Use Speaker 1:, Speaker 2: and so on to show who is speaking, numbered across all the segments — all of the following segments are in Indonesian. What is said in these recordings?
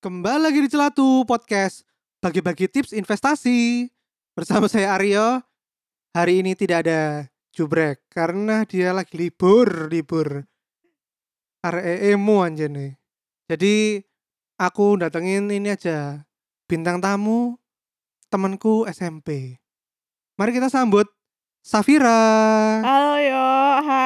Speaker 1: Kembali lagi di Celatu Podcast Bagi-bagi tips investasi Bersama saya Aryo Hari ini tidak ada Jubrek Karena dia lagi libur Libur REEMU anjir nih Jadi aku datengin ini aja Bintang tamu Temanku SMP Mari kita sambut Safira
Speaker 2: Halo yo, ha.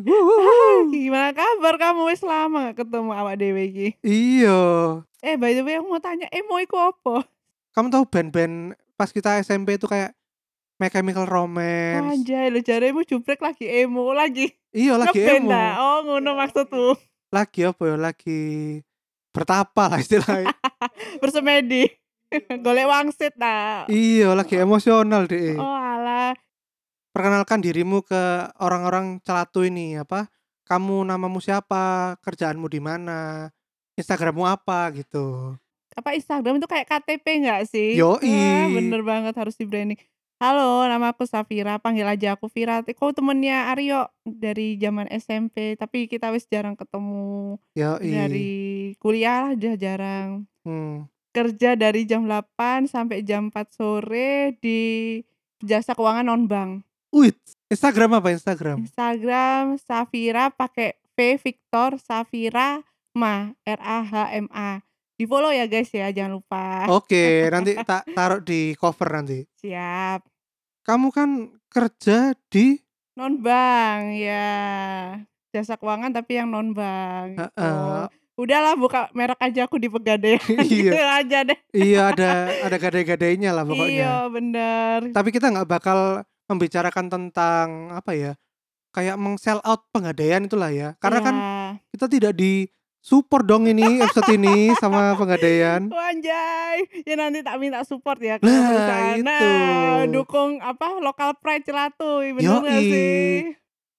Speaker 1: Wuhuhu.
Speaker 2: gimana kabar kamu wis lama gak ketemu awak dewe iki.
Speaker 1: Iya
Speaker 2: Eh by the way aku mau tanya emo iku apa?
Speaker 1: Kamu tahu band-band pas kita SMP itu kayak My Chemical Romance
Speaker 2: Anjay lu jaremu jubrek lagi emo lagi.
Speaker 1: Iya lagi
Speaker 2: Ngeband
Speaker 1: emo
Speaker 2: dah. Oh ngono maksudku.
Speaker 1: lagi apa ya lagi bertapa lah istilahnya
Speaker 2: Bersemedi. Golek wangsit ta.
Speaker 1: iya lagi emosional deh
Speaker 2: Oh alah.
Speaker 1: perkenalkan dirimu ke orang-orang celatu ini apa kamu namamu siapa kerjaanmu di mana instagrammu apa gitu
Speaker 2: Apa Instagram itu kayak KTP enggak sih?
Speaker 1: Yoi.
Speaker 2: Wah, bener banget harus di branding. Halo, nama aku Safira, panggil aja aku Vira. Kau temennya Aryo dari zaman SMP, tapi kita wis jarang ketemu.
Speaker 1: ya
Speaker 2: dari kuliah lah udah jarang
Speaker 1: Hmm.
Speaker 2: kerja dari jam 8 sampai jam 4 sore di jasa keuangan non bank
Speaker 1: Wih, instagram apa instagram
Speaker 2: Instagram Safira pakai V Victor Safira Ma R A H M A di follow ya guys ya jangan lupa
Speaker 1: oke nanti tak taruh di cover nanti
Speaker 2: siap
Speaker 1: kamu kan kerja di
Speaker 2: non bank ya jasa keuangan tapi yang non bank
Speaker 1: Heeh.
Speaker 2: Oh. udahlah buka merek aja aku di pegadaian
Speaker 1: Iya.
Speaker 2: Gitu aja deh
Speaker 1: iya ada ada gadai-gadainya lah pokoknya
Speaker 2: iya bener
Speaker 1: tapi kita nggak bakal membicarakan tentang apa ya kayak meng-sell out pegadaian itulah ya karena kan
Speaker 2: Ya.
Speaker 1: kita tidak di support dong ini episode ini sama pegadaian
Speaker 2: Wah, Oh, anjay, ya nanti tak minta support ya ke
Speaker 1: kan? Nah,
Speaker 2: perusahaan.
Speaker 1: itu.
Speaker 2: Nah, dukung apa lokal pride celatu, bener nggak
Speaker 1: Yoi.
Speaker 2: sih?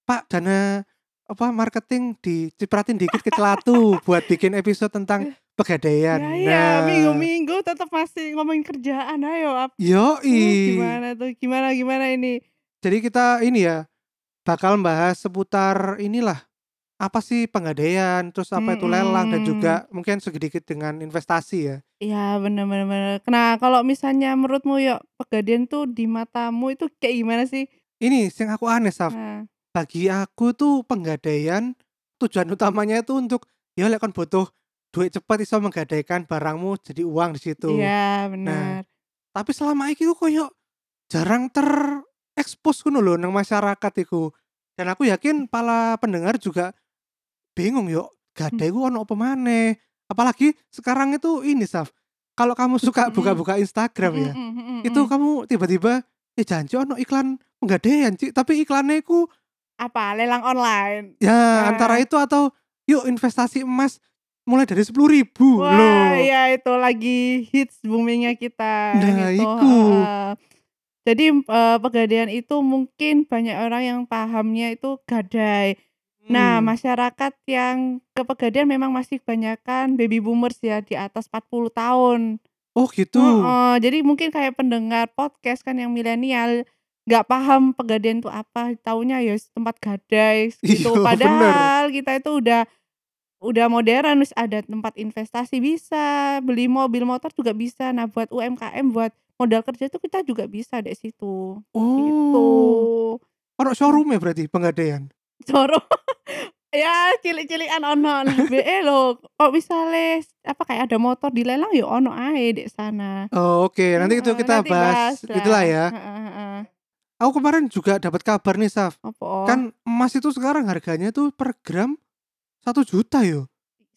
Speaker 1: pak dana apa marketing dicipratin dikit ke celatu buat bikin episode tentang pegadaian
Speaker 2: Ya iya,
Speaker 1: nah.
Speaker 2: minggu-minggu tetap masih ngomongin kerjaan, ayo apa?
Speaker 1: Nah, yoi
Speaker 2: Gimana tuh? Gimana gimana ini?
Speaker 1: jadi kita ini ya bakal bahas seputar inilah apa sih pegadaian terus apa itu lelang dan
Speaker 2: Mm-mm.
Speaker 1: juga mungkin sedikit dengan investasi ya
Speaker 2: Ya bener bener bener. Nah kalau misalnya menurutmu yuk pegadaian tuh di matamu itu kayak gimana sih?
Speaker 1: ini yang aku aneh Saf
Speaker 2: Nah,
Speaker 1: bagi aku tuh penggadaian tujuan utamanya itu untuk ya lek kon butuh duit cepat iso menggadaikan barangmu jadi uang di situ. Nah,
Speaker 2: iya benar.
Speaker 1: Tapi selama iki ku koyo jarang terekspos ngono lho nang masyarakat iku. Dan aku yakin para pendengar juga bingung yo gadai
Speaker 2: Hmm.
Speaker 1: ku ono apa maneh. Apalagi sekarang itu ini Saf. Kalau kamu suka
Speaker 2: Mm-mm.
Speaker 1: buka-buka Instagram ya,
Speaker 2: Mm, mm, mm, mm,
Speaker 1: itu
Speaker 2: mm.
Speaker 1: kamu tiba-tiba ya janji ono iklan penggadaian, Cik, tapi iklannya ku
Speaker 2: apa lelang online?
Speaker 1: Ya,
Speaker 2: Ah.
Speaker 1: antara itu atau yuk investasi emas mulai dari sepuluh ribu
Speaker 2: Wah,
Speaker 1: loh.
Speaker 2: ya itu lagi hits boomingnya kita.
Speaker 1: Nah,
Speaker 2: gitu.
Speaker 1: iku.
Speaker 2: Heeh. Jadi eh, pegadaian itu mungkin banyak orang yang pahamnya itu gadai. Nah,
Speaker 1: Hmm.
Speaker 2: masyarakat yang ke pegadaian memang masih kebanyakan baby boomers ya di atas 40 tahun.
Speaker 1: Oh gitu.
Speaker 2: Heeh, jadi mungkin kayak pendengar podcast kan yang milenial nggak paham pegadaian itu apa, taunya ya tempat gadai gitu.
Speaker 1: Iya,
Speaker 2: Padahal kita itu udah udah modern, terus ada tempat investasi bisa, beli mobil motor juga bisa. Nah, buat UMKM buat modal kerja itu kita juga bisa dari situ. Gitu.
Speaker 1: Oh. Ono showroom ya berarti penggadaian.
Speaker 2: Coro. ya cilik-cilikan ono BE lo kok misalnya apa kayak ada motor dilelang ya ono ae dek sana
Speaker 1: Oh, Oke, nanti itu
Speaker 2: Heeh,
Speaker 1: kita
Speaker 2: nanti
Speaker 1: bahas,
Speaker 2: lah.
Speaker 1: itulah ya.
Speaker 2: Heeh, heeh.
Speaker 1: Aku kemarin juga dapat kabar nih Saf,
Speaker 2: Apa?
Speaker 1: kan emas itu sekarang harganya tuh per gram satu juta yo.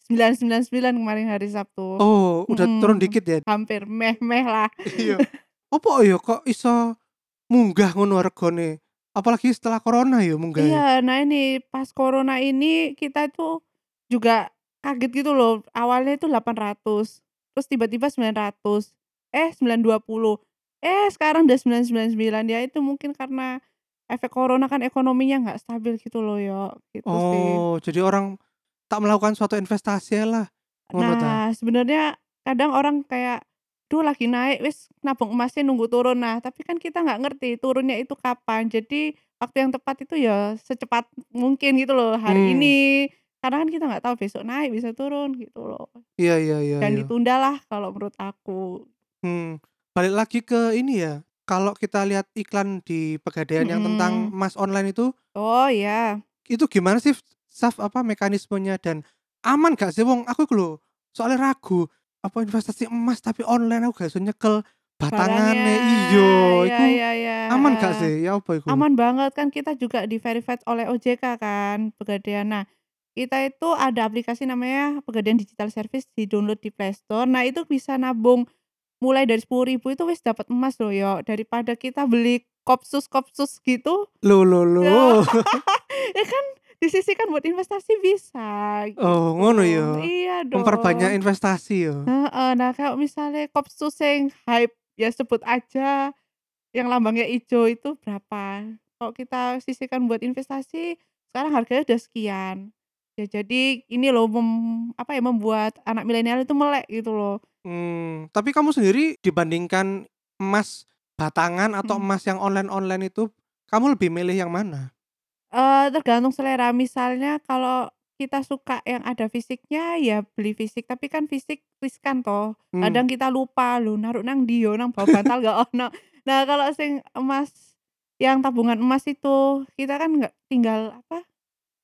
Speaker 2: 999 kemarin hari Sabtu.
Speaker 1: Oh, udah
Speaker 2: Mm-mm.
Speaker 1: turun dikit ya.
Speaker 2: Hampir meh-meh lah.
Speaker 1: Iya. Apa yo kok iso munggah ngono regane? Apalagi setelah corona yo munggah. ya? yo.
Speaker 2: Iya, nah ini pas corona ini kita tuh juga kaget gitu loh. Awalnya itu 800, terus tiba-tiba 900. Eh, 920. Eh, sekarang udah 999. Ya itu mungkin karena efek corona kan ekonominya nggak stabil gitu loh yo gitu sih
Speaker 1: Oh, jadi orang tak melakukan suatu investasi lah. ngono ta?
Speaker 2: nah sebenarnya kadang orang kayak duh lagi naik wis nabung emasnya nunggu turun nah tapi kan kita nggak ngerti turunnya itu kapan jadi waktu yang tepat itu ya secepat mungkin gitu loh hari
Speaker 1: Hmm.
Speaker 2: ini karena kan kita nggak tahu besok naik bisa turun gitu loh
Speaker 1: Iya, iya, iya.
Speaker 2: dan
Speaker 1: iya.
Speaker 2: ditundalah kalau menurut aku
Speaker 1: Hmm, balik lagi ke ini ya. Kalau kita lihat iklan di pegadaian yang tentang
Speaker 2: Mm-mm.
Speaker 1: emas online itu,
Speaker 2: oh ya
Speaker 1: itu gimana sih Saf apa mekanismenya dan aman gak sih wong aku iku lho soalnya ragu apa investasi emas tapi online aku gak iso nyekel batangane iyo Iya, iku
Speaker 2: ya, ya, ya.
Speaker 1: aman gak sih ya apa iku
Speaker 2: aman banget kan kita juga di verified oleh OJK kan pegadaian nah kita itu ada aplikasi namanya pegadaian digital service di download di Play Store nah itu bisa nabung mulai dari sepuluh ribu itu wis dapat emas loh yo daripada kita beli kopsus kopsus gitu
Speaker 1: lo lo lo
Speaker 2: ya kan disisikan buat investasi bisa gitu.
Speaker 1: oh ngono yo
Speaker 2: iya dong
Speaker 1: memperbanyak investasi ya. yo
Speaker 2: Heeh, nah kalau misalnya kopsus yang hype ya sebut aja yang lambangnya hijau itu berapa kalau kita sisihkan buat investasi sekarang harganya udah sekian ya jadi ini loh mem- apa ya membuat anak milenial itu melek gitu loh
Speaker 1: Hmm, tapi kamu sendiri dibandingkan emas batangan atau
Speaker 2: Hmm.
Speaker 1: emas yang online online itu kamu lebih milih yang mana
Speaker 2: Eh tergantung selera misalnya kalau kita suka yang ada fisiknya ya beli fisik tapi kan fisik riskan toh
Speaker 1: Hmm,
Speaker 2: kadang kita lupa lu naruh nang dio nang bawah bantal gak ono nah kalau sing emas yang tabungan emas itu kita kan nggak tinggal apa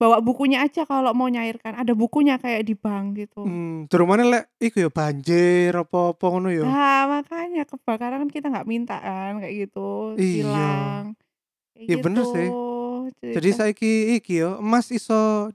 Speaker 2: bawa bukunya aja kalau mau nyairkan ada bukunya kayak di bank gitu
Speaker 1: hmm, di rumahnya lek iku yo banjir apa apa ngono ya. yo
Speaker 2: nah makanya kebakaran kan kita nggak minta kan kayak gitu
Speaker 1: Iya.
Speaker 2: hilang kayak gitu
Speaker 1: Iya, bener sih. Jadi
Speaker 2: Iya.
Speaker 1: saiki iki yo emas iso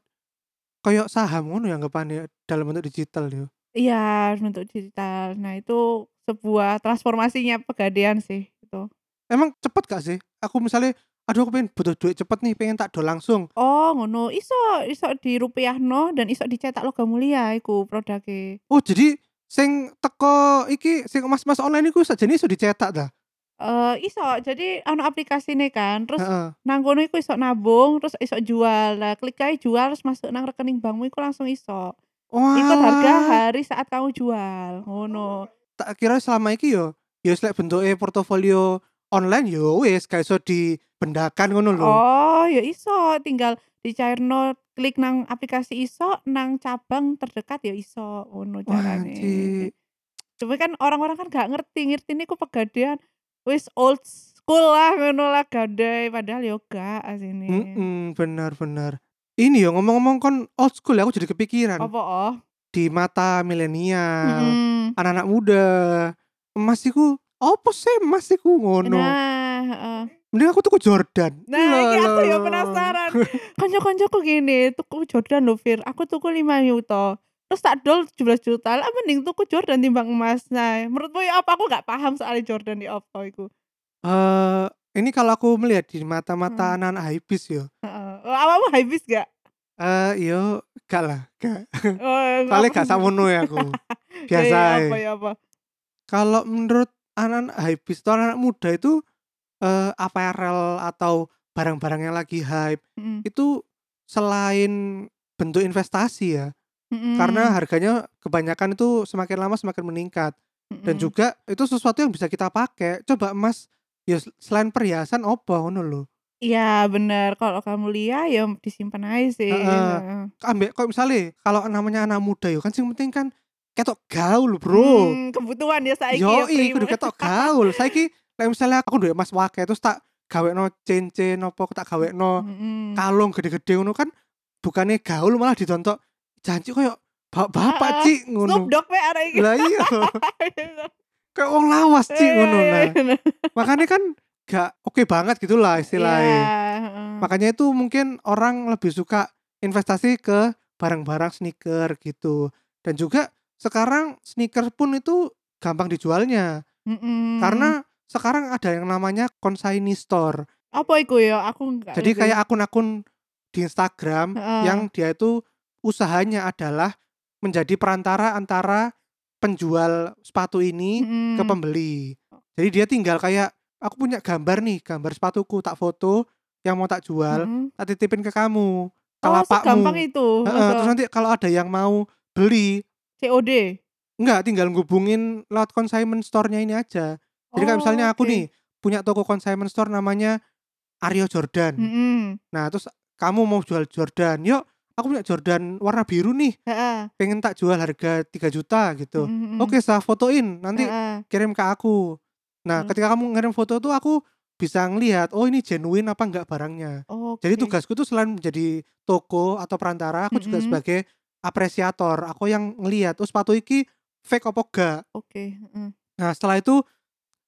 Speaker 1: koyok saham ngono ya anggapane ya, dalam bentuk digital yo.
Speaker 2: Iya, harus bentuk digital. Nah, itu sebuah transformasinya pegadaian sih itu.
Speaker 1: Emang cepet gak sih? Aku misalnya aduh aku pengen butuh duit cepet nih, pengen tak do langsung.
Speaker 2: Oh, ngono. Iso iso di rupiahno dan iso dicetak logam mulia iku produknya.
Speaker 1: Oh, jadi sing teko iki sing emas-emas online iku sajane iso dicetak dah.
Speaker 2: Eh, iso. Jadi anu aplikasine kan, terus
Speaker 1: Heeh.
Speaker 2: nang kono iku iso nabung, terus iso jual. Lah, klik aja jual terus masuk nang rekening bankmu iku langsung iso.
Speaker 1: Wah.
Speaker 2: Ikut harga
Speaker 1: Ah.
Speaker 2: hari saat kamu jual. Ngono.
Speaker 1: Tak kira selama iki yo yo wis lek bentuke portofolio online yo wis gak iso dibendakan ngono lho.
Speaker 2: Oh, ya iso. Tinggal dicairno klik nang aplikasi iso nang cabang terdekat ya iso ngono
Speaker 1: Wah,
Speaker 2: carane.
Speaker 1: cik.
Speaker 2: Cuma kan orang-orang kan gak ngerti, ngerti ini ku pegadaian wis old school lah ngono lah gadai padahal yo gak asine.
Speaker 1: Mm-mm, benar-benar. Ini yo ngomong-ngomong kon old school ya aku jadi kepikiran.
Speaker 2: Apa oh?
Speaker 1: di mata milenial,
Speaker 2: Mm-mm.
Speaker 1: anak-anak muda. Emas iku opo sih emas iku ngono.
Speaker 2: Nah, heeh.
Speaker 1: Mending aku tuku Jordan. Iya
Speaker 2: nah iki
Speaker 1: Lah,
Speaker 2: aku
Speaker 1: lah,
Speaker 2: yo
Speaker 1: lah.
Speaker 2: penasaran. Kanca-kancaku gini, tuku Jordan lho Fir. Aku tuku 5 juta. Terus tak dol 17 juta. Lah mending tuku Jordan timbang emas. Nah, menurutmu ya apa aku gak paham soal Jordan di apa iku.
Speaker 1: Eh, ini kalau aku melihat di
Speaker 2: Mm-hmm.
Speaker 1: mata-mata anak-anak hibis yo.
Speaker 2: Heeh. Lah, Eh, Awakmu habis gak?
Speaker 1: Eh, yo gak lah, gak.
Speaker 2: Oh,
Speaker 1: Soalnya
Speaker 2: ngapa-
Speaker 1: gak samono ya aku.
Speaker 2: Ya,
Speaker 1: Biasa. eh.
Speaker 2: ya,
Speaker 1: ae.
Speaker 2: apa ya apa.
Speaker 1: eh, ya,
Speaker 2: Hmm. Hmm.
Speaker 1: ya
Speaker 2: Iya,
Speaker 1: ya
Speaker 2: ya
Speaker 1: kan
Speaker 2: Hmm, ya,
Speaker 1: kan
Speaker 2: Hmm.
Speaker 1: iya,
Speaker 2: Eh.
Speaker 1: nah, kan gitu.
Speaker 2: Iya, Iya, Hmm. ya? Hmm. Hmm.
Speaker 1: yang mau tak jual,
Speaker 2: Mm-mm.
Speaker 1: tak titipin ke kamu, ke
Speaker 2: Hmm. Oh,
Speaker 1: lapakmu.
Speaker 2: gampang itu.
Speaker 1: Heeh, terus
Speaker 2: Heeh.
Speaker 1: nanti kalau ada yang mau beli,
Speaker 2: COD.
Speaker 1: enggak tinggal ngubungin lewat consignment store-nya ini aja. Jadi kayak
Speaker 2: Oh,
Speaker 1: misalnya aku
Speaker 2: oke.
Speaker 1: nih punya toko consignment store namanya Aryo Jordan.
Speaker 2: Mm-mm.
Speaker 1: Nah, terus kamu mau jual Jordan, yuk aku punya Jordan warna biru nih,
Speaker 2: Heeh.
Speaker 1: pengen tak jual harga 3 juta gitu.
Speaker 2: Mm-mm.
Speaker 1: Oke, saya fotoin, nanti
Speaker 2: Heeh.
Speaker 1: kirim ke aku. Nah,
Speaker 2: Hmm.
Speaker 1: ketika kamu ngirim foto tuh aku bisa ngelihat, oh ini genuine apa enggak barangnya.
Speaker 2: Oke.
Speaker 1: Jadi tugasku tuh selain menjadi toko atau perantara, aku juga
Speaker 2: Mm-mm.
Speaker 1: sebagai apresiator. Aku yang ngelihat, oh sepatu iki fake apa enggak.
Speaker 2: Oke. heeh.
Speaker 1: Nah, setelah itu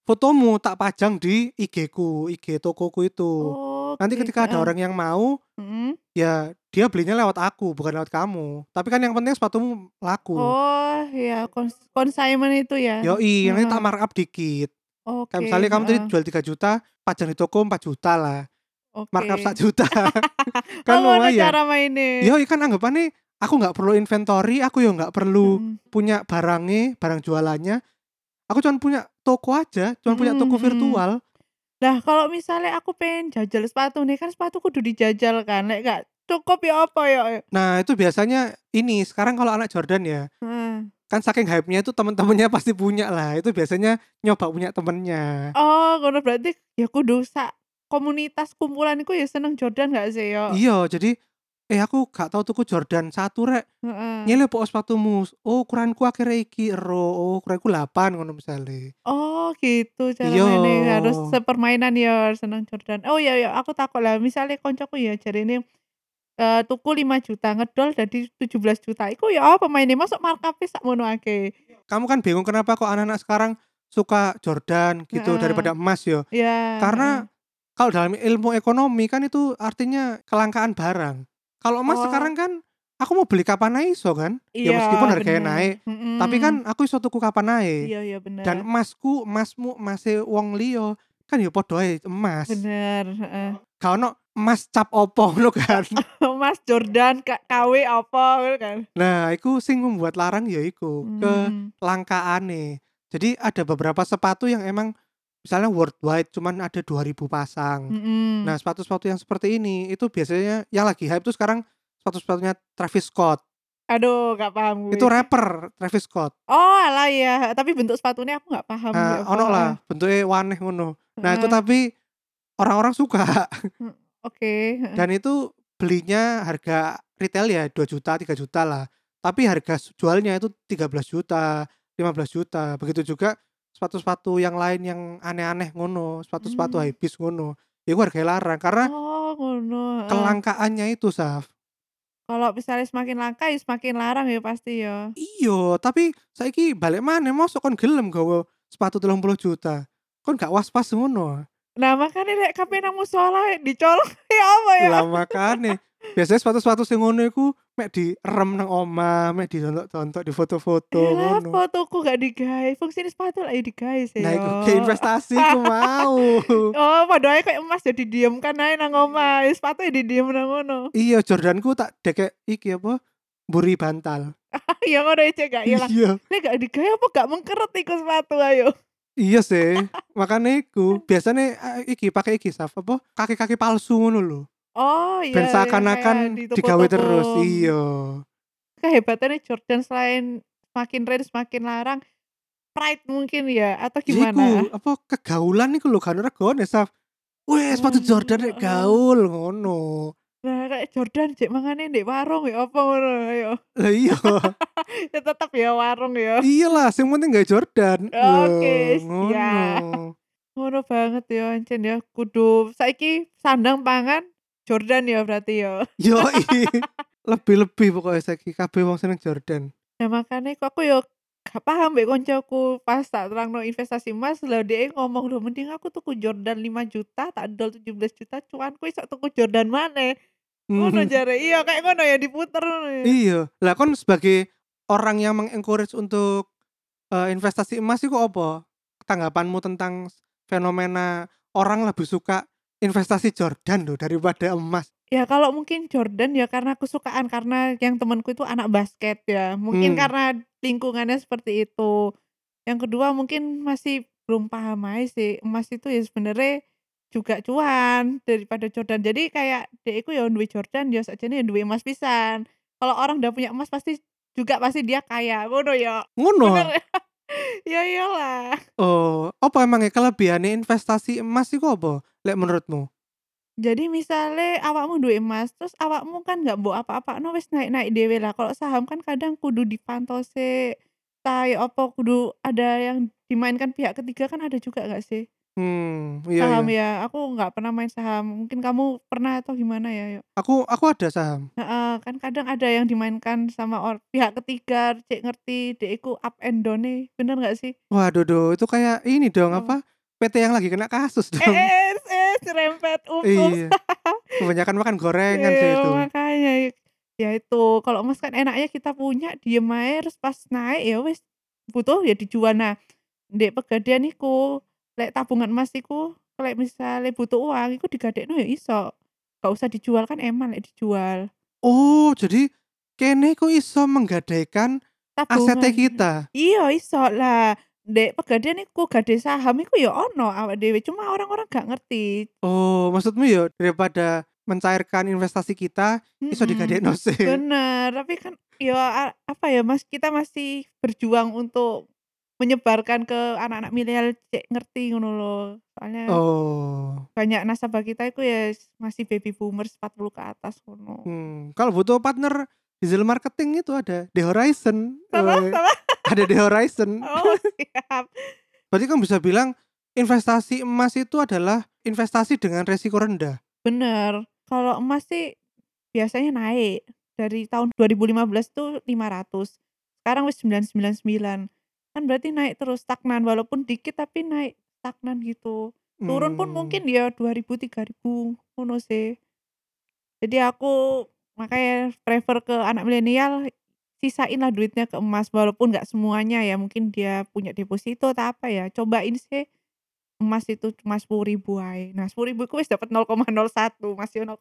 Speaker 1: fotomu tak pajang di IG-ku, IG tokoku itu.
Speaker 2: Oh, Oke,
Speaker 1: Nanti ketika ada
Speaker 2: heeh.
Speaker 1: orang yang mau,
Speaker 2: Mm-mm.
Speaker 1: ya dia belinya lewat aku, bukan lewat kamu. Tapi kan yang penting sepatumu laku.
Speaker 2: Oh, ya cons- consignment itu ya.
Speaker 1: Yoi, yang nanti tak
Speaker 2: Heeh.
Speaker 1: markup dikit.
Speaker 2: Oke.
Speaker 1: Kayak misalnya kamu tadi
Speaker 2: heeh.
Speaker 1: jual 3 juta, pajang di toko 4 juta lah.
Speaker 2: Oke.
Speaker 1: Markup 1 juta. kan
Speaker 2: Oh, ngono
Speaker 1: lumayan.
Speaker 2: cara mainnya.
Speaker 1: Yoi, kan anggapannya aku nggak perlu inventory, aku ya nggak perlu
Speaker 2: Mm-mm.
Speaker 1: punya barangnya, barang jualannya. Aku cuma punya toko aja, cuma punya toko
Speaker 2: Mm-mm.
Speaker 1: virtual.
Speaker 2: Lah kalau misalnya aku pengen jajal sepatu nih kan sepatu kudu dijajal kan. Lek gak cukup ya apa ya.
Speaker 1: Nah itu biasanya ini sekarang kalau anak Jordan ya
Speaker 2: Heeh.
Speaker 1: kan saking hype-nya itu temen-temennya pasti punya lah itu biasanya nyoba punya temennya
Speaker 2: Oh, ngono berarti ya kudu sak komunitas kumpulanku ya seneng Jordan gak sih yo?
Speaker 1: iya jadi eh aku gak tahu tuku Jordan satu rek
Speaker 2: Heeh.
Speaker 1: nyele po sepatumu oh ukuranku akhirnya iki ero oh ukuranku 8 ngono misalnya
Speaker 2: Oh gitu cara
Speaker 1: Iya.
Speaker 2: mainnya harus sepermainan ya seneng Jordan. Oh iya iya aku takut lah misalnya koncoku ya jadi ini eh tuku 5 juta ngedol jadi 17 juta iku ya apa mainnya masuk markupnya sak mono akeh.
Speaker 1: kamu kan bingung kenapa kok anak-anak sekarang suka Jordan gitu
Speaker 2: Heeh.
Speaker 1: daripada emas yo
Speaker 2: Ya.
Speaker 1: Karena kalau dalam ilmu ekonomi kan itu artinya kelangkaan barang kalau emas
Speaker 2: Oh.
Speaker 1: sekarang kan aku mau beli kapan aja iso kan ya meskipun harganya naik, tapi kan aku iso tuku kapan ae
Speaker 2: Mm. iya iya bener.
Speaker 1: dan emasku emasmu emasnya wong liya kan ya padha ae emas
Speaker 2: bener. heeh.
Speaker 1: gak ono emas cap opo ngono kan
Speaker 2: Mas Jordan Kak KW apa gitu kan.
Speaker 1: nah iku sing membuat larang ya iku
Speaker 2: Hmm.
Speaker 1: kelangkaane jadi ada beberapa sepatu yang emang misalnya worldwide cuman ada 2000 pasang
Speaker 2: Hmm. Mm-mm.
Speaker 1: nah sepatu-sepatu yang seperti ini itu biasanya yang lagi hype tuh sekarang sepatu-sepatunya Travis Scott
Speaker 2: Aduh, gak paham gue.
Speaker 1: itu rapper Travis Scott
Speaker 2: Oh, alah ya. Tapi bentuk sepatunya aku gak paham.
Speaker 1: nah
Speaker 2: ya
Speaker 1: ono
Speaker 2: Allah.
Speaker 1: lah bentuknya waneh ngono nah itu
Speaker 2: Heeh.
Speaker 1: tapi orang-orang suka
Speaker 2: Oke. heeh.
Speaker 1: dan itu belinya harga retail ya 2 juta 3 juta lah tapi harga s- jualnya itu 13 juta 15 juta begitu juga sepatu-sepatu yang lain yang aneh-aneh ngono sepatu-sepatu
Speaker 2: Hmm.
Speaker 1: habis ngono ya gue harganya larang karena
Speaker 2: Oh, ngono. heeh.
Speaker 1: kelangkaannya itu saf
Speaker 2: Kalau misalnya semakin langka ya semakin larang ya pasti ya.
Speaker 1: iyo Iya, tapi saiki balik mana mosok kon gelem gawe sepatu 30 juta kon gak was-was ngono
Speaker 2: Nah, makanya lek kape nang musola dicolong ya apa ya?
Speaker 1: lah makane biasanya sepatu-sepatu sing ngono iku mek direm nang omah mek didontok-dontok di foto-foto
Speaker 2: Yalah,
Speaker 1: ngono
Speaker 2: fotoku gak digawe. Fungsi sepatu lah ya digawe sih.
Speaker 1: Nah, iku
Speaker 2: ya.
Speaker 1: ke investasi ku mau.
Speaker 2: Oh, padahal kayak emas jadi diem kan aja nang omah. Ya, Sepatu ya didiem nang ngono.
Speaker 1: iya, Jordanku tak dekek iki apa? Buri bantal.
Speaker 2: ya ngono aja gak ilang.
Speaker 1: Iya,
Speaker 2: Lek gak digawe apa gak mengkeret iku sepatu ayo.
Speaker 1: iya sih. Makanya iku biasanya eh, iki pakai iki saf apa? Kaki-kaki palsu ngono lho.
Speaker 2: Oh iya.
Speaker 1: Ben
Speaker 2: iya, kayak
Speaker 1: seakan-akan
Speaker 2: di
Speaker 1: digawe
Speaker 2: toko-toko.
Speaker 1: terus. Iya.
Speaker 2: Kehebatannya Jordan selain makin rare semakin larang. Pride mungkin ya atau
Speaker 1: Ya Iku
Speaker 2: gimana?
Speaker 1: apa kegaulan iku lho kan regone saf. Weh, sepatu
Speaker 2: Oh,
Speaker 1: Jordan rek
Speaker 2: oh.
Speaker 1: gaul ngono.
Speaker 2: Nah kayak Jordan cek mangane di warung ya apa ngono ayo.
Speaker 1: Lah iya.
Speaker 2: Ya tetap ya warung ya.
Speaker 1: Iyalah, sing penting gak Jordan. Lho,
Speaker 2: Oke, siap.
Speaker 1: ngono.
Speaker 2: Ngono banget ya ancen ya kudu saiki sandang pangan Jordan ya berarti ya.
Speaker 1: Yo lebih-lebih pokoknya saiki kabeh wong seneng Jordan.
Speaker 2: Nah makanya kok aku yo gak paham mbek koncoku pas tak terangno investasi emas lah dia ngomong loh mending aku tuku Jordan 5 juta tak dol 17 juta cuanku iso tuku Jordan mana ngono jare iya kayak ngono ya diputer ngono ya.
Speaker 1: Hmm, iya, lah kon sebagai orang yang mengencourage untuk eh, investasi emas itu apa? Tanggapanmu tentang fenomena orang lebih suka investasi Jordan loh daripada emas.
Speaker 2: ya kalau mungkin Jordan ya karena kesukaan karena yang temanku itu anak basket ya mungkin
Speaker 1: Hmm.
Speaker 2: karena lingkungannya seperti itu yang kedua mungkin masih belum paham aja sih emas itu ya sebenarnya juga cuan daripada Jordan. Jadi kayak dek iku ya duwe Jordan ya sakjane ya duwe emas pisan. Kalau orang udah punya emas pasti juga pasti dia kaya. Ngono ya.
Speaker 1: Ngono.
Speaker 2: Bener. ya iyalah.
Speaker 1: Oh, apa emangnya kelebihane investasi emas iku apa? Lek menurutmu?
Speaker 2: Jadi misalnya awakmu duwe emas, terus awakmu kan nggak mbok apa-apa, no wis naik-naik dewe lah. Kalau saham kan kadang kudu dipantau se tai apa kudu ada yang dimainkan pihak ketiga kan ada juga nggak sih
Speaker 1: Hmm, iya,
Speaker 2: saham
Speaker 1: iya.
Speaker 2: ya aku nggak pernah main saham mungkin kamu pernah atau gimana ya yuk
Speaker 1: Aku aku ada saham.
Speaker 2: Heeh, kan kadang ada yang dimainkan sama or pihak ketiga cek ngerti deku up and down bener nggak sih
Speaker 1: Waduh, duh, itu kayak ini dong
Speaker 2: Apa?
Speaker 1: apa? PT yang lagi kena kasus
Speaker 2: eh
Speaker 1: dong.
Speaker 2: eh eh serempet ups ups.
Speaker 1: Iya. Kebanyakan makan gorengan sih
Speaker 2: Iya,
Speaker 1: itu.
Speaker 2: makanya ya itu kalau emas kan enaknya kita punya diem aja terus pas naik ya wis butuh ya dijual nah dek pegadaian iku lek tabungan emas iku lek misalnya butuh uang iku digadekno ya iso gak usah dijual kan emang lek dijual
Speaker 1: Oh, jadi kene kok iso menggadaikan
Speaker 2: tabungan
Speaker 1: asetnya gitu? kita.
Speaker 2: iya iso lah dek pegadaian iku gade saham iku ya ono awak dhewe cuma orang-orang gak ngerti
Speaker 1: Oh, maksudmu ya daripada mencairkan investasi kita iso
Speaker 2: Mm-mm.
Speaker 1: digadekno sih.
Speaker 2: Bener, tapi kan ya a- apa ya Mas, kita masih berjuang untuk menyebarkan ke anak-anak milenial cek ngerti ngono loh. Soalnya
Speaker 1: Oh.
Speaker 2: banyak nasabah kita itu ya s- masih baby boomers 40 ke atas ngono.
Speaker 1: Hmm, kalau butuh partner digital marketing itu ada The Horizon.
Speaker 2: Sama
Speaker 1: Eh,
Speaker 2: sama.
Speaker 1: Ada The Horizon.
Speaker 2: Oh, siap.
Speaker 1: Berarti kamu bisa bilang investasi emas itu adalah investasi dengan resiko rendah.
Speaker 2: Bener. Kalau emas sih biasanya naik dari tahun 2015 tuh 500. Sekarang wis 999. Kan berarti naik terus stagnan walaupun dikit tapi naik stagnan gitu. turun pun
Speaker 1: Hmm.
Speaker 2: mungkin ya 2000 3000 ngono sih jadi aku makanya prefer ke anak milenial sisain lah duitnya ke emas walaupun nggak semuanya ya mungkin dia punya deposito atau apa ya cobain sih emas itu cuma 10.000 ribu aja nah 10.000 ribu wis dapat 0,01 masih 0,01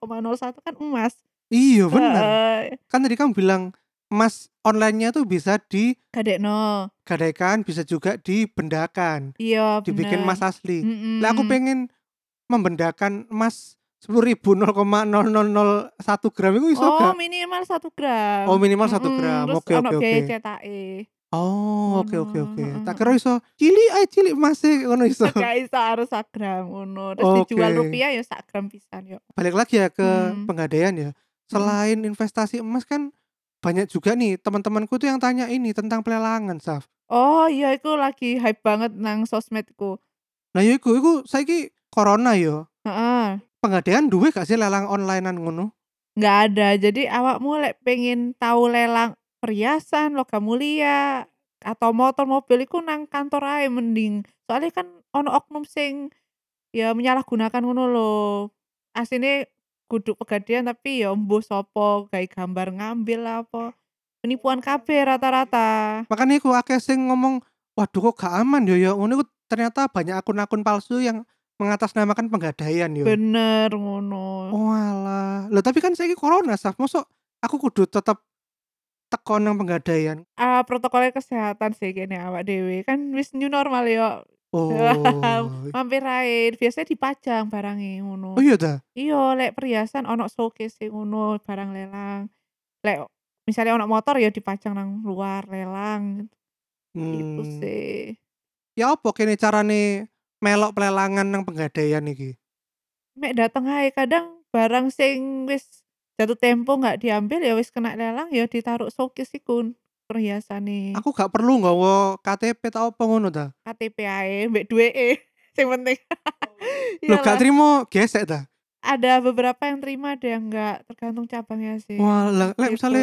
Speaker 2: kan emas
Speaker 1: Iya benar.
Speaker 2: Eh,
Speaker 1: Kan tadi kamu bilang emas online-nya tuh bisa
Speaker 2: gadekno
Speaker 1: digadaikan, bisa juga dibendakan,
Speaker 2: iya bener Hmm.
Speaker 1: dibikin emas asli.
Speaker 2: Mm-mm.
Speaker 1: Lah aku pengen membendakan emas 10.000 0,0001 gram itu iso
Speaker 2: oh
Speaker 1: gak?
Speaker 2: minimal satu gram
Speaker 1: Oh, minimal satu
Speaker 2: Mm-mm,
Speaker 1: gram.
Speaker 2: terus
Speaker 1: Oke,
Speaker 2: ono
Speaker 1: oke,
Speaker 2: biaya e.
Speaker 1: oke.
Speaker 2: cetake.
Speaker 1: Oh, oke oke
Speaker 2: Ngono,
Speaker 1: oke. Tak
Speaker 2: heeh.
Speaker 1: kira iso cilik ae cilik masih ngono iso.
Speaker 2: Gak iso harus sak gram ngono. Terus dijual
Speaker 1: Gitu. Oke.
Speaker 2: rupiah ya sak gram pisan yo.
Speaker 1: Balik lagi ya ke
Speaker 2: Mm.
Speaker 1: penggadaian ya. Selain investasi emas kan banyak juga nih teman-temanku tuh yang tanya ini tentang pelelangan, Saf.
Speaker 2: Oh iya iku lagi hype banget nang sosmedku.
Speaker 1: Nah, ya iku iku saiki corona yo.
Speaker 2: Heeh.
Speaker 1: Penggadaian duwe gak sih lelang onlinean ngono?
Speaker 2: Nggak ada. Jadi awakmu lek pengen tahu lelang perhiasan, logam mulia atau motor mobil iku nang kantor ae mending. Soalnya kan ono oknum sing ya menyalahgunakan ngono lho. Asine kudu pegadaian tapi ya mbuh sapa gawe gambar ngambil lah apa. Penipuan kabeh rata-rata.
Speaker 1: Makanya iku akeh sing ngomong, "Waduh kok gak aman yo yo." Ngono iku ternyata banyak akun-akun palsu yang mengatasnamakan penggadaian yo.
Speaker 2: Bener ngono.
Speaker 1: Walah. Loh, tapi kan saiki corona, Saf. Mosok aku kudu tetap tekon nang penggadaian.
Speaker 2: Ah, protokolnya kesehatan sih kayaknya awak dewe kan wis new normal yo
Speaker 1: Oh.
Speaker 2: mampir air biasanya dipajang barangnya
Speaker 1: Oh
Speaker 2: ngono
Speaker 1: iya dah.
Speaker 2: iya lek perhiasan ono showcase sih ngono barang lelang lek misalnya ono motor ya dipajang nang luar lelang gitu
Speaker 1: Hmm.
Speaker 2: sih
Speaker 1: Ya apa kene carane melok pelelangan nang penggadaian iki?
Speaker 2: mek dateng ae kadang barang sing wis jatuh tempo nggak diambil ya wis kena lelang ya ditaruh showcase ikun perhiasan e. nih
Speaker 1: Aku gak perlu nggawa KTP ta apa ngono ta?
Speaker 2: KTP ae mbek duwe e. sing penting
Speaker 1: Loh
Speaker 2: Iyalah.
Speaker 1: gak trimo gesek ta?
Speaker 2: ada beberapa yang terima ada yang enggak tergantung cabangnya sih
Speaker 1: Wah, lah, lek
Speaker 2: Gitu.
Speaker 1: misale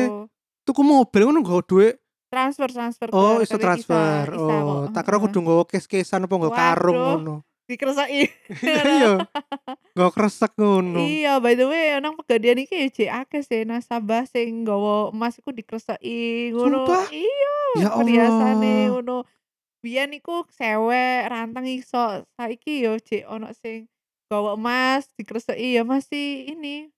Speaker 1: tuku mobil ngono nggawa duit.
Speaker 2: transfer transfer ke
Speaker 1: Oh, iso
Speaker 2: KTP
Speaker 1: transfer.
Speaker 2: Isa- Isa
Speaker 1: Oh,
Speaker 2: gitu, ah, kok.
Speaker 1: tak kira kudu nggawa kes-kesan apa nggawa karung
Speaker 2: Waduh.
Speaker 1: ngono.
Speaker 2: dikersaki
Speaker 1: Iya. Nggawa kresek ngono.
Speaker 2: iya by the way nang pegadaian iki ya jek akeh sih nasabah sing nggawa emas iku dikersaki ngono
Speaker 1: Sumpah?
Speaker 2: iya
Speaker 1: Ya
Speaker 2: perhiasane
Speaker 1: Allah.
Speaker 2: ngono biyen iku sewek rantang iso saiki yo jek ono sing nggawa emas dikersaki ya masih ini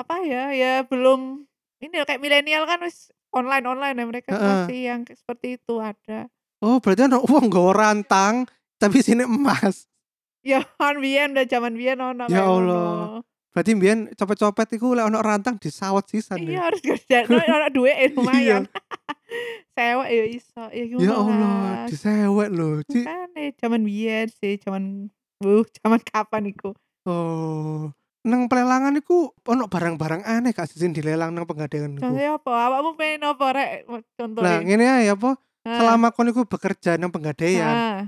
Speaker 2: apa ya ya belum ini loh, kayak milenial kan wis online online ya mereka
Speaker 1: Heeh.
Speaker 2: masih yang kayak seperti itu ada
Speaker 1: Oh, berarti ana wong nggawa rantang tapi sini emas.
Speaker 2: Ya, on biyen udah zaman biyen ono.
Speaker 1: Ya
Speaker 2: kayak ngono.
Speaker 1: Allah. Berarti mbiyen copet-copet iku lek ono rantang disawet sisan.
Speaker 2: Iya
Speaker 1: ya. Iya.
Speaker 2: harus kerja. No, ono duit ya lumayan. Sewek ya iso. Ya,
Speaker 1: Ya
Speaker 2: ngono
Speaker 1: Allah,
Speaker 2: lah.
Speaker 1: disewek loh. Ci.
Speaker 2: Kan eh zaman biyen sih, zaman buh, zaman kapan iku?
Speaker 1: Oh. Nang pelelangan iku ono barang-barang aneh gak sih sing dilelang nang penggadean iku.
Speaker 2: Contohnya apa? Awakmu pengen apa rek?
Speaker 1: Nah,
Speaker 2: Contohnya.
Speaker 1: ngene ae apa?
Speaker 2: Ah,
Speaker 1: Selama ya. kon iku bekerja nang penggadean,
Speaker 2: ah.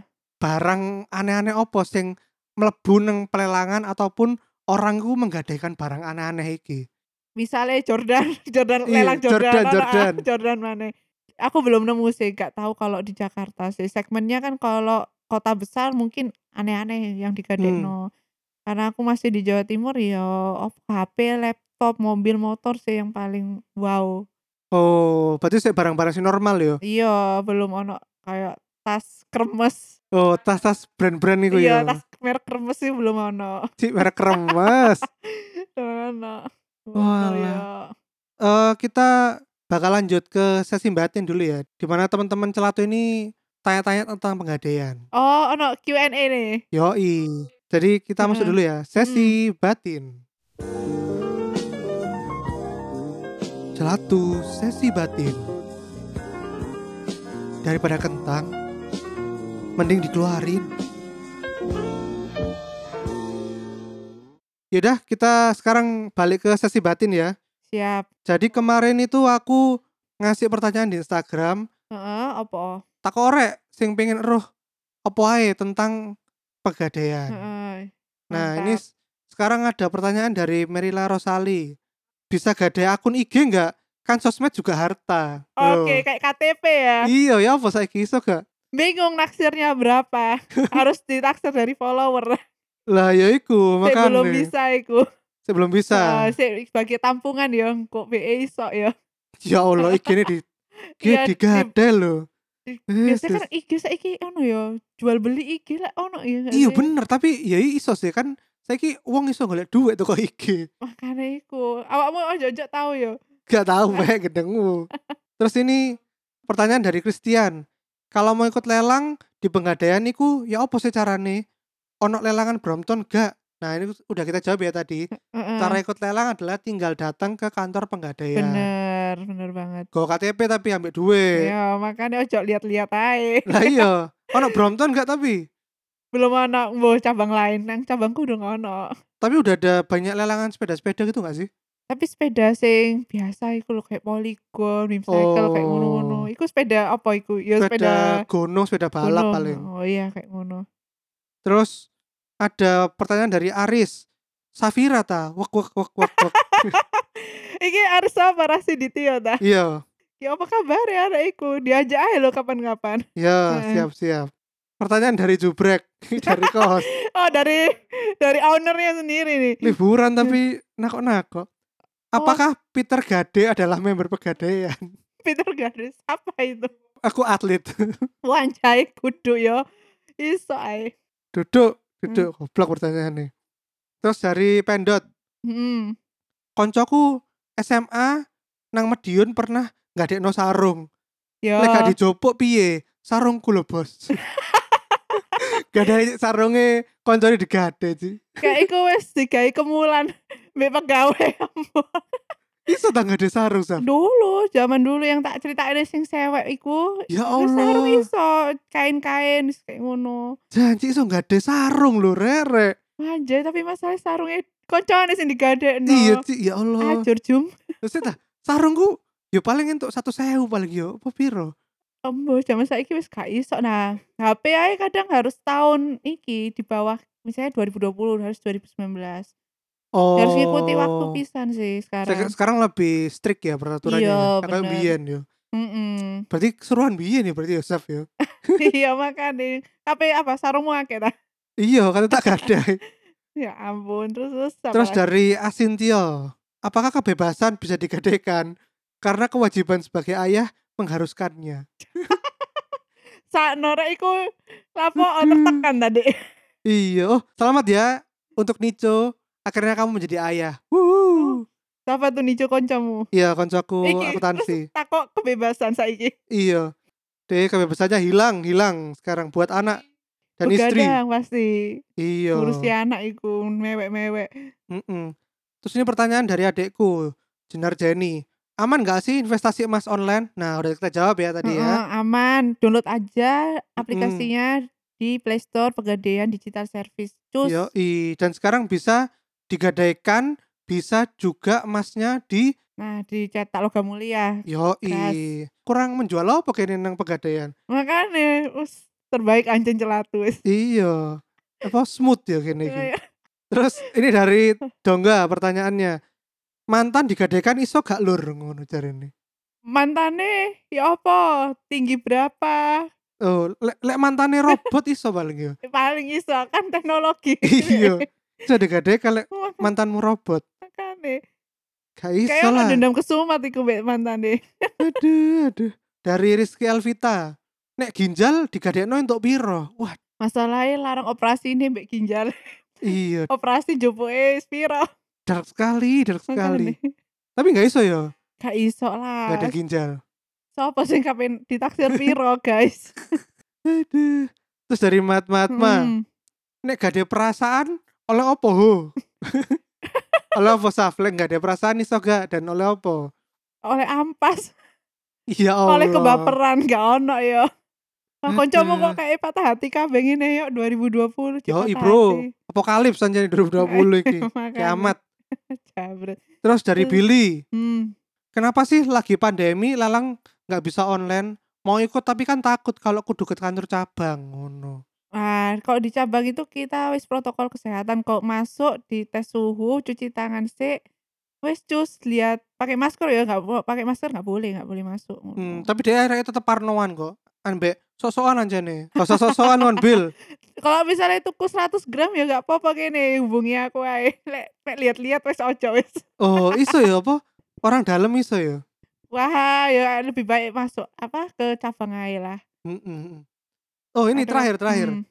Speaker 1: barang aneh-aneh opo sing mlebu nang pelelangan ataupun orang ku menggadaikan barang aneh-aneh iki.
Speaker 2: misalnya Jordan, Jordan
Speaker 1: Iya,
Speaker 2: lelang Jordan,
Speaker 1: Jordan,
Speaker 2: ono, ah,
Speaker 1: Jordan.
Speaker 2: Jordan mana? Aku belum nemu sih, gak tahu kalau di Jakarta sih. Segmennya kan kalau kota besar mungkin aneh-aneh yang
Speaker 1: Hmm.
Speaker 2: digadekno. Karena aku masih di Jawa Timur ya, op- HP, laptop, mobil, motor sih yang paling wow.
Speaker 1: Oh, berarti sih barang-barang sing normal ya.
Speaker 2: Iya, belum ono kayak tas kremes.
Speaker 1: Oh, tas-tas brand-brand iku ya.
Speaker 2: Iya, tas merek kremes sih belum ono.
Speaker 1: Cik, merek kremes.
Speaker 2: Belum ono. Belum
Speaker 1: Walah.
Speaker 2: ono, ya.
Speaker 1: Eh, kita bakal lanjut ke sesi batin dulu ya. Dimana teman-teman celatu ini tanya-tanya tentang penggadaian.
Speaker 2: Oh, ono Q&A nih.
Speaker 1: Yoi. Jadi kita masuk
Speaker 2: Heeh.
Speaker 1: dulu ya. Sesi batin. Celatu sesi batin. Daripada kentang, mending dikeluarin. Yaudah, kita sekarang balik ke sesi batin ya.
Speaker 2: Siap.
Speaker 1: Jadi kemarin itu aku ngasih pertanyaan di Instagram,
Speaker 2: Heeh, apa?
Speaker 1: tak korek sing pengen roh apa ae tentang pegadaian.
Speaker 2: Heeh,
Speaker 1: Nah,
Speaker 2: mantap.
Speaker 1: ini s- sekarang ada pertanyaan dari Merila Rosali. Bisa gadai akun IG nggak? Kan sosmed juga harta.
Speaker 2: oke
Speaker 1: Loh.
Speaker 2: kayak KTP ya.
Speaker 1: Iya ya apa saiki iso gak?
Speaker 2: Bingung naksirnya berapa? Harus ditaksir dari follower.
Speaker 1: Lah ya iku
Speaker 2: Saya
Speaker 1: makanya.
Speaker 2: belum bisa iku.
Speaker 1: Sebelum bisa.
Speaker 2: Eh, saya sebagai tampungan ya, kok BE iso ya.
Speaker 1: Ya Allah IG ini di IG
Speaker 2: Iya, di-
Speaker 1: digadai loh.
Speaker 2: di-
Speaker 1: Eh,
Speaker 2: Biasanya kan IG saiki ono ya, jual beli IG lah ono ya. nggak
Speaker 1: Iya
Speaker 2: sih?
Speaker 1: bener tapi ya iso sih kan saiki uang iso golek duit tuh kok IG.
Speaker 2: Makanya iku. Awakmu ojo-ojo tahu ya.
Speaker 1: Gak tahu kayak gedengmu. Terus ini pertanyaan dari Christian. Kalau mau ikut lelang di penggadaian niku ya apa sih carane? Ono lelangan Brompton gak? Nah, ini udah kita jawab ya tadi.
Speaker 2: Heeh,
Speaker 1: Cara ikut lelang adalah tinggal datang ke kantor penggadaian.
Speaker 2: bener, bener banget.
Speaker 1: Go KTP tapi ambil duit.
Speaker 2: Ya, makanya ojo lihat-lihat aja.
Speaker 1: Lah iya. Ono Brompton gak tapi?
Speaker 2: Belum ono mbuh cabang lain, nang cabangku udah ono.
Speaker 1: Tapi udah ada banyak lelangan sepeda-sepeda gitu gak sih?
Speaker 2: tapi sepeda sing biasa iku lho kayak polygon, bimcycle kayak
Speaker 1: Oh.
Speaker 2: ngono-ngono. Iku sepeda apa iku? Ya
Speaker 1: Sepeda
Speaker 2: sepeda,
Speaker 1: gunung, sepeda balap
Speaker 2: gunung.
Speaker 1: paling.
Speaker 2: Oh iya kayak ngono.
Speaker 1: Terus ada pertanyaan dari Aris. Safira ta, wak wak wak wak wak.
Speaker 2: Iki harus sabar sih di Tio ta.
Speaker 1: Iya.
Speaker 2: Ya apa kabar ya anak iku? Diajak aja lho kapan-kapan.
Speaker 1: Ya,
Speaker 2: Heeh.
Speaker 1: siap-siap. Pertanyaan dari Jubrek, dari kos.
Speaker 2: Oh dari dari ownernya sendiri nih.
Speaker 1: Liburan tapi
Speaker 2: Iya. Oh.
Speaker 1: nakok-nakok. Apakah Peter Gade adalah member pegadaian?
Speaker 2: Peter Garis apa itu?
Speaker 1: Aku atlet.
Speaker 2: Wanjai kudu yo. Iso ae.
Speaker 1: duduk, duduk. Goblok pertanyaannya. Terus dari Pendot,
Speaker 2: Hmm.
Speaker 1: koncoku SMA nang Medion pernah ngadekno sarung.
Speaker 2: Yo.
Speaker 1: Lek
Speaker 2: Oh.
Speaker 1: gak dijopok piye? Sarungku lho, Bos. gak ada sarungnya koncone digade, Ci.
Speaker 2: Kayak iku wis digawe kemulan. Mbak
Speaker 1: Iya.
Speaker 2: pegawai.
Speaker 1: Iso tak gade sarung, Sam.
Speaker 2: dulu zaman dulu yang tak ceritain sing sewek iku
Speaker 1: Ya
Speaker 2: terus Iya, sarung
Speaker 1: Allah.
Speaker 2: iso kain-kain wis kayak ngono
Speaker 1: Janji iso gade sarung lho, Rere.
Speaker 2: anjay tapi masalah sarungnya koncone sing digadekno
Speaker 1: Iya Ci, ya Allah.
Speaker 2: ajur jum
Speaker 1: Terus dah sarungku yo paling entuk satu sewu paling yo apa piro?
Speaker 2: embo zaman saiki wis gak iso nah HP ae kadang harus tahun iki di bawah misalnya 2020 harus 2019
Speaker 1: Oh.
Speaker 2: harus ngikuti waktu pisan sih
Speaker 1: Sek-
Speaker 2: sekarang
Speaker 1: Sekarang lebih strict ya peraturannya.
Speaker 2: Iya,
Speaker 1: ya. Kakak
Speaker 2: bener.
Speaker 1: biyen yo.
Speaker 2: Mm-mm.
Speaker 1: Berarti keseruan biyen ya berarti ya Saf yo.
Speaker 2: iya makanya HP apa sarungmu akeh ta
Speaker 1: Iya, kata tak gadai.
Speaker 2: ya ampun terus terus apa
Speaker 1: Terus
Speaker 2: lagi?
Speaker 1: dari Asintio, apakah kebebasan bisa digadaikan karena kewajiban sebagai ayah mengharuskannya?
Speaker 2: saat norek iku lapo tertekan tadi
Speaker 1: Iya, oh, selamat ya untuk Nico akhirnya kamu menjadi ayah. Wuhu.
Speaker 2: Siapa tuh Nico koncomu?
Speaker 1: Iya, koncoku
Speaker 2: Oh. Iki,
Speaker 1: akuntansi.
Speaker 2: Takok kebebasan saiki.
Speaker 1: Iya. Deh kebebasannya hilang, hilang sekarang buat anak. dan istri
Speaker 2: Begadang ya. pasti.
Speaker 1: iya
Speaker 2: Ngurusi anak iku mewek-mewek.
Speaker 1: Mm-mm. terus ini pertanyaan dari adekku Jenar Jenny aman gak sih investasi emas online nah udah kita jawab ya tadi ya
Speaker 2: Heeh, aman, download aja aplikasinya di Play Store Pegadaian Digital Service. Cus.
Speaker 1: Yoi. dan sekarang bisa digadaikan bisa juga emasnya di
Speaker 2: Nah, di cetak logam mulia.
Speaker 1: yoi kurang menjual apa kene nang pegadaian
Speaker 2: Makanya us, terbaik anjing celatu wis.
Speaker 1: iya apa smooth ya kene iki Terus ini dari Dongga pertanyaannya. Mantan digadaikan iso gak lur ngono jarene.
Speaker 2: Mantane ya apa? Tinggi berapa? Ya,
Speaker 1: Oh, lek lek mantane robot iso paling ya? yo.
Speaker 2: Paling iso kan teknologi.
Speaker 1: Iya. Iso digadaikan lek
Speaker 2: Makanya
Speaker 1: mantanmu robot. Gak iso
Speaker 2: Kayak ono
Speaker 1: lah.
Speaker 2: dendam kesumat iku mbek mantane.
Speaker 1: Aduh, aduh. Dari Rizky Elvita. Nek ginjal digadekno entuk piro? Wah,
Speaker 2: Masalahnya larang operasi ini mbek ginjal.
Speaker 1: iya
Speaker 2: Operasi jopoke piro?
Speaker 1: dark sekali, dark sekali.
Speaker 2: Makanya.
Speaker 1: Tapi gak iso yo,
Speaker 2: Gak iso
Speaker 1: gak
Speaker 2: lah.
Speaker 1: ada ginjal.
Speaker 2: Sopo sing kapan ditaksir piro, guys?
Speaker 1: Aduh. Terus dari Mat Matma.
Speaker 2: Hmm.
Speaker 1: nek gak ada perasaan oleh opo ho oleh opo saflek gak ada perasaan iso gak dan oleh opo
Speaker 2: Hmm. Oleh ampas,
Speaker 1: iya Allah
Speaker 2: oleh kebaperan gak ono ya. Wah,
Speaker 1: Aduh.
Speaker 2: kancamu kok kayak patah hati kabeh ngene yo 2020
Speaker 1: Yo,
Speaker 2: patah
Speaker 1: bro.
Speaker 2: hati.
Speaker 1: apokalips anjani 2020 iki
Speaker 2: Makanya.
Speaker 1: kiamat
Speaker 2: Jabret.
Speaker 1: terus dari
Speaker 2: Aduh.
Speaker 1: Billy
Speaker 2: Hmm.
Speaker 1: kenapa sih lagi pandemi lalang nggak bisa online mau ikut tapi kan takut kalau kudu ke kantor cabang ngono
Speaker 2: Wah, kalau di cabang itu kita wis protokol kesehatan kok masuk di tes suhu, cuci tangan sih. Wis cus lihat pakai masker ya nggak bo- pakai masker nggak boleh nggak boleh masuk.
Speaker 1: hmm, tapi dia akhirnya tetep parnoan kok ambek sok-sokan anjane gak usah sok-sokan on bill
Speaker 2: Kalau misalnya tuku 100 gram ya nggak apa-apa kene hubungi aku ae. Lek lek lihat-lihat wis ojo wis.
Speaker 1: oh iso ya apa orang dalam iso ya
Speaker 2: Wah, ya lebih baik masuk apa ke cabang ae lah.
Speaker 1: Mm, mm, mm. oh ini
Speaker 2: Ada-
Speaker 1: terakhir terakhir
Speaker 2: Mm,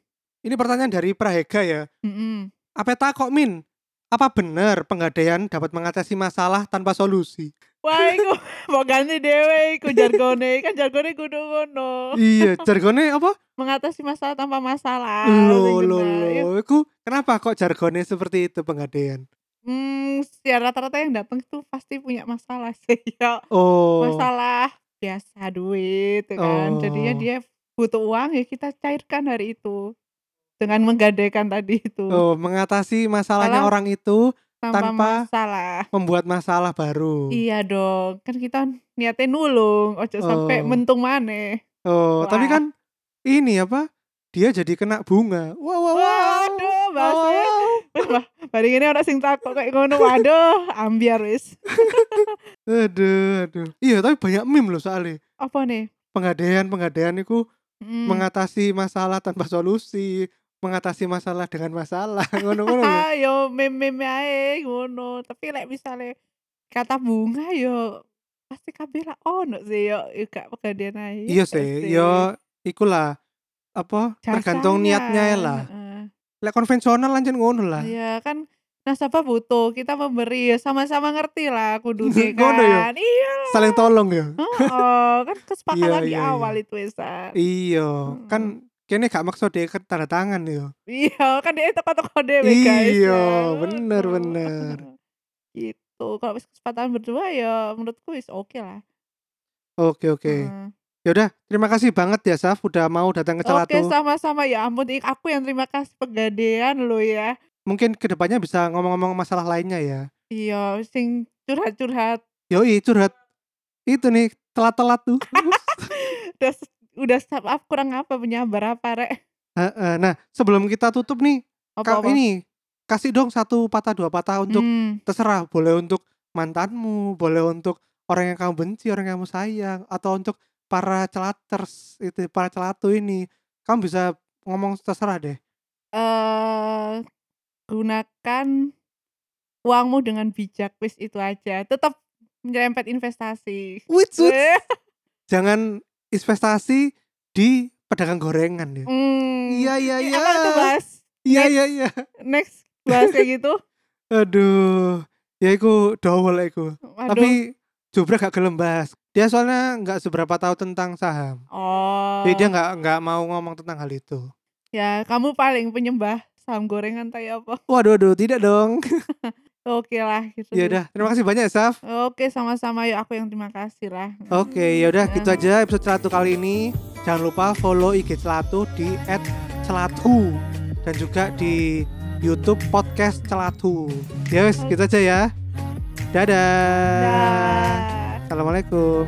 Speaker 1: Ini pertanyaan dari Prahega ya.
Speaker 2: mm, mm.
Speaker 1: Apa tak kok Min? Apa benar penggadaian dapat mengatasi masalah tanpa solusi?
Speaker 2: Wah, iku mau ganti dhewe iku jargone, kan jargone kudu ngono.
Speaker 1: iya, jargonnya apa?
Speaker 2: Mengatasi masalah tanpa masalah.
Speaker 1: Lo
Speaker 2: sing
Speaker 1: lo
Speaker 2: bener. Ya,
Speaker 1: lo. Iku kenapa kok jargonnya seperti itu penggadaian?
Speaker 2: Hmm, ya rata-rata yang datang itu pasti punya masalah sih. Ya,
Speaker 1: Oh.
Speaker 2: masalah biasa duit ya kan. Jadinya
Speaker 1: Oh.
Speaker 2: dia butuh uang ya kita cairkan hari itu dengan menggadaikan tadi itu
Speaker 1: Oh, mengatasi masalahnya
Speaker 2: Masalah
Speaker 1: orang itu
Speaker 2: tanpa,
Speaker 1: tanpa-
Speaker 2: masalah.
Speaker 1: membuat masalah baru.
Speaker 2: Iya dong, kan kita niatnya nulung, ojo sampai
Speaker 1: Oh.
Speaker 2: mentung maneh.
Speaker 1: Oh, tapi
Speaker 2: Wah.
Speaker 1: kan ini apa? Dia jadi kena bunga. Wah, wah, wah.
Speaker 2: Waduh,
Speaker 1: Wah, wah,
Speaker 2: bahasanya.
Speaker 1: wah.
Speaker 2: Wah,
Speaker 1: Oh.
Speaker 2: bari ini orang sing takut kayak ngono, waduh, ambiar wis.
Speaker 1: Aduh, aduh. Iya, tapi banyak meme loh soalnya.
Speaker 2: Apa nih?
Speaker 1: Penggadaian-penggadaian itu
Speaker 2: Hmm.
Speaker 1: mengatasi masalah tanpa solusi mengatasi masalah dengan masalah ya. ngono-ngono lho.
Speaker 2: Ah, yo meme-meme ae ngono. Tapi lek misalnya kata bunga yo pasti kabeh lah ono sih yo yo gak pegadaian ae.
Speaker 1: iya sih yo ikulah apa tergantung niatnya ya lah Ah. lek konvensional lanjut ngono lah
Speaker 2: eh, Iya kan nasabah butuh kita memberi ya sama-sama ngerti lah kudu deh
Speaker 1: Ngono yo.
Speaker 2: kan. Iya.
Speaker 1: saling tolong ya
Speaker 2: Heeh, kan kesepakatan
Speaker 1: Iya,
Speaker 2: di
Speaker 1: iya, iya.
Speaker 2: awal itu ah. Esa.
Speaker 1: iya
Speaker 2: Mm.
Speaker 1: kan kene gak maksud dia ke tanda tangan yo
Speaker 2: Iya, kan dia toko-toko dhewe guys.
Speaker 1: Iya,
Speaker 2: ya.
Speaker 1: bener,
Speaker 2: Aduh.
Speaker 1: bener.
Speaker 2: Gitu. Kalau wis kesempatan berdua ya menurutku wis oke lah.
Speaker 1: oke oke
Speaker 2: Heeh.
Speaker 1: yaudah terima kasih banget ya Saf udah mau datang ke Celatu
Speaker 2: Oke sama-sama ya ampun Ik, aku yang terima kasih pegadaian lo ya.
Speaker 1: mungkin kedepannya bisa ngomong-ngomong masalah lainnya ya
Speaker 2: Iya sing curhat-curhat
Speaker 1: yoi curhat itu nih telat-telat tuh
Speaker 2: udah udah stop up kurang apa penyabar apa rek.
Speaker 1: Heeh. nah sebelum kita tutup nih Kak,
Speaker 2: Apa-apa?
Speaker 1: ini kasih dong satu patah dua patah untuk
Speaker 2: Hmm,
Speaker 1: terserah boleh untuk mantanmu boleh untuk orang yang kamu benci orang yang kamu sayang atau untuk para celaters itu para celatu ini kamu bisa ngomong terserah deh
Speaker 2: eh, gunakan uangmu dengan bijak wis itu aja. Tetap menyerempet investasi.
Speaker 1: Wits, wits.
Speaker 2: Eh,
Speaker 1: jangan investasi di pedagang gorengan ya
Speaker 2: hmm.
Speaker 1: iya iya
Speaker 2: Ini
Speaker 1: iya
Speaker 2: apa itu bahas
Speaker 1: iya iya iya
Speaker 2: next bahas kayak gitu.
Speaker 1: aduh ya iku dowel iku
Speaker 2: Waduh.
Speaker 1: tapi Jubra gak gelem bahas dia soalnya nggak seberapa tahu tentang saham
Speaker 2: oh.
Speaker 1: jadi dia nggak nggak mau ngomong tentang hal itu
Speaker 2: Ya, kamu paling penyembah saham gorengan kayak apa.
Speaker 1: Waduh, waduh, tidak dong.
Speaker 2: Oke lah gitu.
Speaker 1: Ya udah, terima kasih banyak, Saf.
Speaker 2: Oke, sama-sama yuk aku yang terima kasih lah.
Speaker 1: Oke, yaudah gitu aja episode celatu kali ini. Jangan lupa follow IG celatu di @celatu dan juga di YouTube podcast celatu. Ya wes, gitu aja ya. Dadah.
Speaker 2: Dah.
Speaker 1: Assalamualaikum.